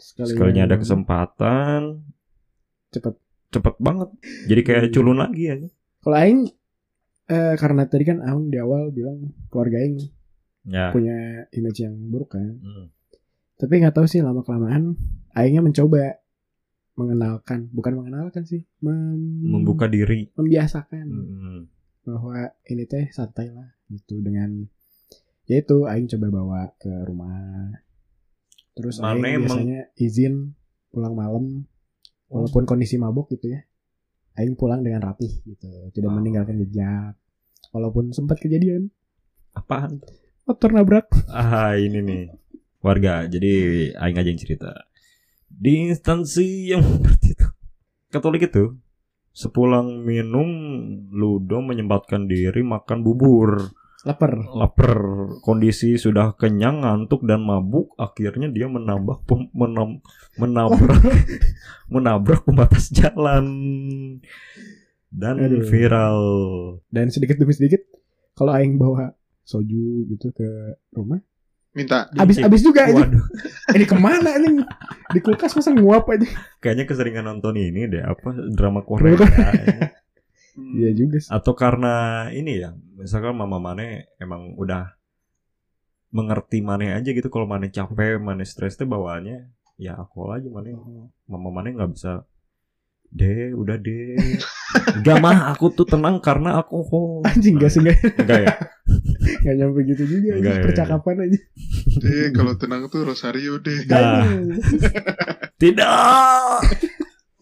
Speaker 4: Sekalinya ada kesempatan,
Speaker 3: Cepet.
Speaker 4: cepet banget. Jadi kayak
Speaker 3: Iya.
Speaker 4: culun lagi ya.
Speaker 3: Kalau Aing, eh, karena tadi kan Aung di awal bilang keluarga Aing
Speaker 4: Ya.
Speaker 3: punya image yang buruk kan.
Speaker 4: Hmm.
Speaker 3: Tapi nggak tahu sih lama kelamaan Aingnya mencoba mengenalkan, bukan mengenalkan sih, mem-
Speaker 4: Membuka diri.
Speaker 3: membiasakan
Speaker 4: Hmm.
Speaker 3: bahwa ini teh santai lah gitu dengan yaitu Aing coba bawa ke rumah. Terus
Speaker 4: Mana
Speaker 3: Aing
Speaker 4: emang-
Speaker 3: biasanya izin pulang malam walaupun kondisi mabuk gitu ya. Aing pulang dengan rapih gitu, tidak
Speaker 4: Ah.
Speaker 3: meninggalkan jejak. Walaupun sempat kejadian
Speaker 4: Apaan? tuh?
Speaker 3: motor nabrak.
Speaker 4: Ah ini nih warga. Jadi aing aja yang cerita. Di instansi yang seperti itu. Katolik itu sepulang minum ludo menyempatkan diri makan bubur
Speaker 3: Laper.
Speaker 4: lapar kondisi sudah kenyang ngantuk dan mabuk akhirnya dia menambah pem- menam- menabrak menabrak pembatas jalan dan
Speaker 3: Aduh.
Speaker 4: viral
Speaker 3: dan sedikit demi sedikit kalau aing bawa soju gitu ke rumah
Speaker 5: Minta
Speaker 3: habis habis juga ini
Speaker 4: Waduh,
Speaker 3: ini kemana ini di kulkas masa nguap aja
Speaker 4: kayaknya keseringan nonton ini deh apa drama Korea
Speaker 5: "Hmm,
Speaker 3: iya juga sih
Speaker 4: atau karena ini ya misalkan mama mane emang udah mengerti mane aja gitu kalau mane capek mane stres teh bawaannya ya alkohol aja mane mama mane nggak bisa deh udah deh udah mah aku tuh tenang karena alkohol
Speaker 3: anjing gak sih gak,
Speaker 4: enggak ya
Speaker 3: gak nyampe gitu juga
Speaker 4: Enggak,
Speaker 3: anjing,
Speaker 4: iya.
Speaker 3: percakapan aja
Speaker 5: deh kalau tenang tuh Rosario deh.
Speaker 4: Nah.
Speaker 3: Anjing.
Speaker 4: tidak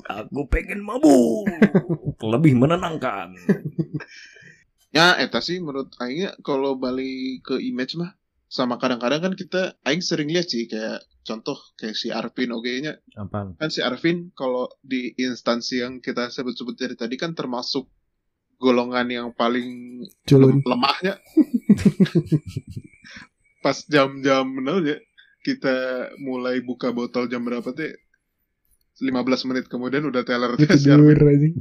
Speaker 4: aku pengen mabuk lebih menenangkan
Speaker 5: Ya eta sih menurut aingnya kalau balik ke image mah sama kadang-kadang kan kita aing sering lihat sih kayak contoh kayak si Arvin oke nya
Speaker 4: apaan
Speaker 5: kan si Arvin kalau di instansi yang kita sebut-sebut dari tadi kan termasuk golongan yang paling
Speaker 3: culun
Speaker 5: lem- lemahnya pas jam-jam benar ya kita mulai buka botol jam berapa teh 15 menit kemudian udah teler
Speaker 3: Dia
Speaker 5: teh si Arvin.
Speaker 3: tidur anjing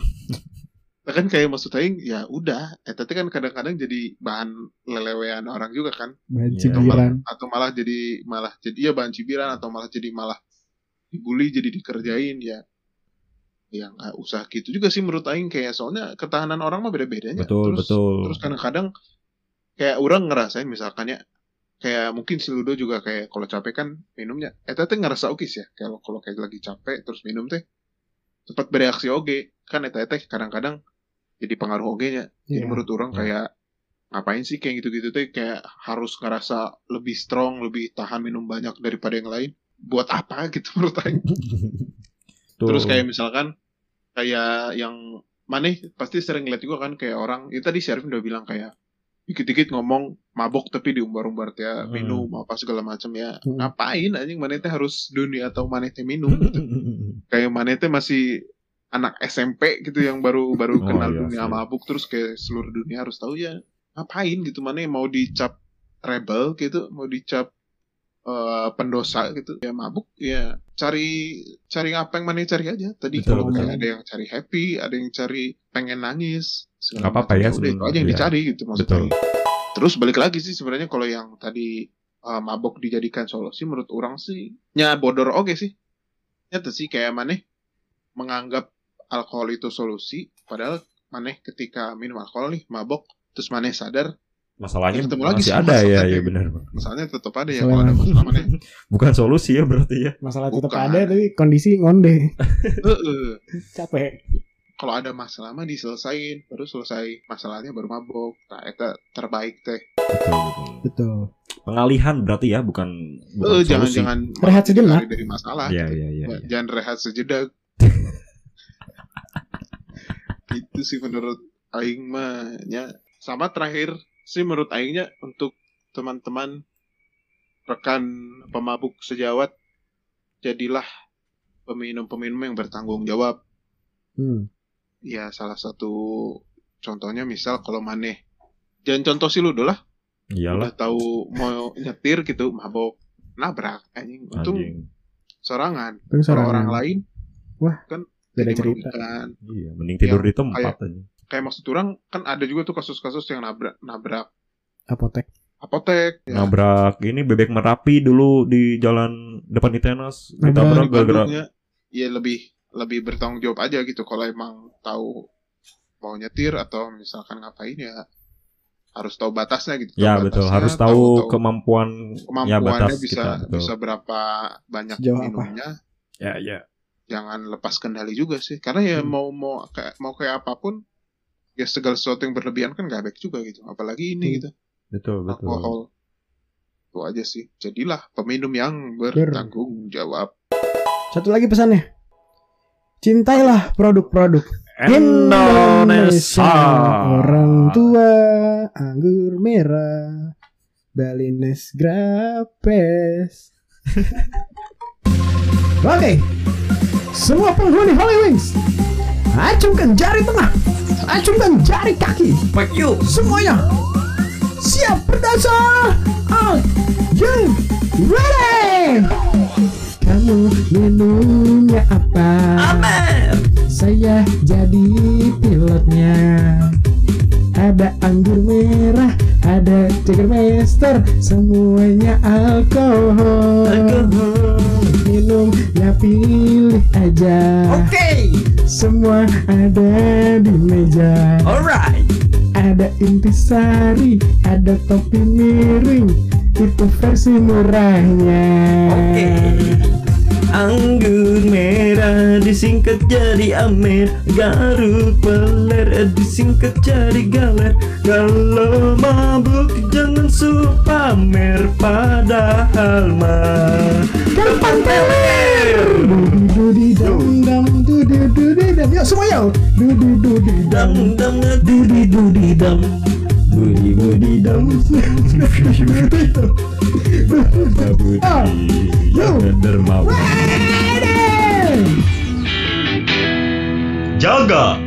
Speaker 5: Nah, kan kayak maksud aing ya udah eta teh kan kadang-kadang jadi bahan lelewean orang juga kan
Speaker 3: bahan
Speaker 4: Iya.
Speaker 5: atau malah,
Speaker 3: cibiran
Speaker 5: atau malah jadi malah jadi ya bahan cibiran atau malah jadi malah dibully jadi dikerjain ya yang nggak usah gitu juga sih menurut aing kayak soalnya ketahanan orang mah beda-bedanya
Speaker 4: betul
Speaker 5: terus
Speaker 4: betul
Speaker 5: terus kadang-kadang kayak orang ngerasain misalkan ya kayak mungkin si Ludo juga kayak kalau capek kan minumnya eta teh ngerasa oke sih ya kalau kalau kayak lagi capek terus minum teh cepat bereaksi oke kan eta teh kadang-kadang jadi pengaruh oge nya
Speaker 3: Iya.
Speaker 5: jadi menurut orang
Speaker 4: Iya.
Speaker 5: kayak ngapain sih kayak gitu-gitu teh kayak harus ngerasa lebih strong lebih tahan minum banyak daripada yang lain buat apa gitu menurut aing
Speaker 4: Tuh.
Speaker 5: Terus kayak misalkan kayak yang maneh pasti sering lihat juga kan kayak orang itu tadi Syarif udah bilang kayak dikit-dikit ngomong mabok tapi diumbar-umbar ya
Speaker 4: Hmm.
Speaker 5: minum apa segala macam ya
Speaker 3: Hmm.
Speaker 5: ngapain anjing maneh teh harus dunia atau maneh teh minum kayak maneh teh masih anak SMP gitu yang baru baru
Speaker 4: Oh,
Speaker 5: kenal
Speaker 4: iya
Speaker 5: dunia
Speaker 4: sih.
Speaker 5: mabuk terus kayak seluruh dunia harus tahu ya ngapain gitu maneh mau dicap rebel gitu mau dicap eh, pendosa gitu ya mabuk ya cari cari apa yang maneh cari aja tadi
Speaker 4: Betul,
Speaker 5: kalau
Speaker 3: betul.
Speaker 5: kayak ada yang cari happy ada yang cari pengen nangis segala
Speaker 4: Nggak apa-apa ya
Speaker 5: macam. Udah, itu
Speaker 4: sebenarnya.
Speaker 5: aja yang
Speaker 4: Iya.
Speaker 5: dicari gitu maksudnya
Speaker 4: Betul.
Speaker 5: terus balik lagi sih sebenarnya kalau yang tadi eh, mabok dijadikan solusi menurut orang sih nya bodor oke sih nyata sih kayak maneh menganggap alkohol itu solusi padahal maneh ketika minum alkohol nih mabok terus maneh sadar
Speaker 4: Masalahnya
Speaker 5: Ketemu lagi
Speaker 4: masih
Speaker 5: sama
Speaker 4: ada ya,
Speaker 5: masalahnya.
Speaker 4: ya benar.
Speaker 5: masalahnya tetap ada ya
Speaker 3: Selain
Speaker 5: kalau ada
Speaker 3: mabok.
Speaker 5: masalah maneh
Speaker 4: Bukan solusi ya berarti ya.
Speaker 3: Masalah tetap
Speaker 5: Bukan.
Speaker 3: ada tapi kondisi ngonde.
Speaker 5: Heeh.
Speaker 3: Capek.
Speaker 5: kalau ada masalah mah diselesain baru selesai masalahnya baru mabok nah itu terbaik teh
Speaker 4: Betul, betul.
Speaker 3: Betul.
Speaker 4: Pengalihan berarti ya, bukan bukan
Speaker 5: Eh,
Speaker 4: solusi.
Speaker 5: jangan jangan
Speaker 3: Rehat sejenak.
Speaker 5: dari masalah
Speaker 4: Iya,
Speaker 5: gitu.
Speaker 4: iya, iya.
Speaker 5: Ba-
Speaker 4: iya.
Speaker 5: jangan rehat sejenak itu sih menurut aing mah nya. sama terakhir sih menurut aingnya untuk teman-teman rekan pemabuk sejawat jadilah peminum-peminum yang bertanggung jawab
Speaker 3: Hmm.
Speaker 5: ya salah satu contohnya misal kalau maneh jangan contoh sih lu dulu lah
Speaker 4: Iyalah.
Speaker 5: udah tahu mau nyetir gitu mabok nabrak anjing untung
Speaker 4: anjing.
Speaker 5: sorangan
Speaker 3: Terus
Speaker 5: kalau
Speaker 3: orang,
Speaker 5: orang lain
Speaker 3: Wah,
Speaker 5: kan
Speaker 3: beda
Speaker 5: jadi
Speaker 3: cerita.
Speaker 5: merugikan.
Speaker 4: Iya, mending tidur
Speaker 5: Yang
Speaker 4: di tempat
Speaker 5: kayak-
Speaker 4: aja.
Speaker 5: kayak maksud orang kan ada juga tuh kasus-kasus yang nabrak nabrak
Speaker 3: apotek.
Speaker 5: apotek ya,
Speaker 4: Nabrak ini bebek merapi dulu di jalan depan Itenas.
Speaker 3: Nabrak.
Speaker 4: Ditabrak gara-gara
Speaker 5: Bandungnya, gitu ya lebih lebih bertanggung jawab aja gitu kalau emang tahu mau nyetir atau misalkan ngapain ya harus tahu batasnya gitu
Speaker 4: Ya
Speaker 5: Tahu
Speaker 4: betul,
Speaker 5: batasnya,
Speaker 4: harus tahu,
Speaker 5: tahu-
Speaker 4: kemampuan ya
Speaker 5: kemampuannya
Speaker 4: batas
Speaker 5: bisa
Speaker 4: kita. Betul.
Speaker 5: bisa berapa banyak
Speaker 3: Sejauh apa?
Speaker 5: minumnya
Speaker 4: Ya ya.
Speaker 5: jangan lepas kendali juga sih karena ya
Speaker 4: Hmm.
Speaker 5: mau mau kayak mau kayak apapun ya segala sesuatu yang berlebihan kan gak baik juga gitu apalagi ini
Speaker 3: Hmm,
Speaker 5: gitu
Speaker 4: Betul betul.
Speaker 5: alkohol itu aja sih jadilah peminum yang bertanggung jawab
Speaker 3: Satu lagi pesannya. Cintailah produk-produk
Speaker 4: Indonesia.
Speaker 3: Orang tua anggur merah. Balines grapes. Oke. Semua penghuni Holy Wings. Acungkan jari tengah. Acungkan jari kaki. Semuanya. Siap berdasar. Ah, Out. You. Ready. Kamu minumnya apa? Saya jadi pilotnya. Ada anggur merah, ada Jägermeister, semuanya alkohol. Minumnya pilih aja.
Speaker 1: Oh.
Speaker 2: Okay,
Speaker 3: Semua ada di meja.
Speaker 2: alright.
Speaker 3: Ada intisari, ada topi miring. Itu versi murahnya.
Speaker 2: Oke.
Speaker 1: Anggur merah disingkat jadi amer Garuk peler disingkat jadi galer Kalau mabuk jangan suka pamer Padahal mah
Speaker 3: Gampang teler. Dudi dam dam dudi dudi dam. Yuk semua yuk. Dudi dudi dam.
Speaker 1: Dam dam dudi dudi dam Budi budi dam
Speaker 3: Ah, yuk.
Speaker 1: Dermawan
Speaker 3: Ready.
Speaker 1: Jaga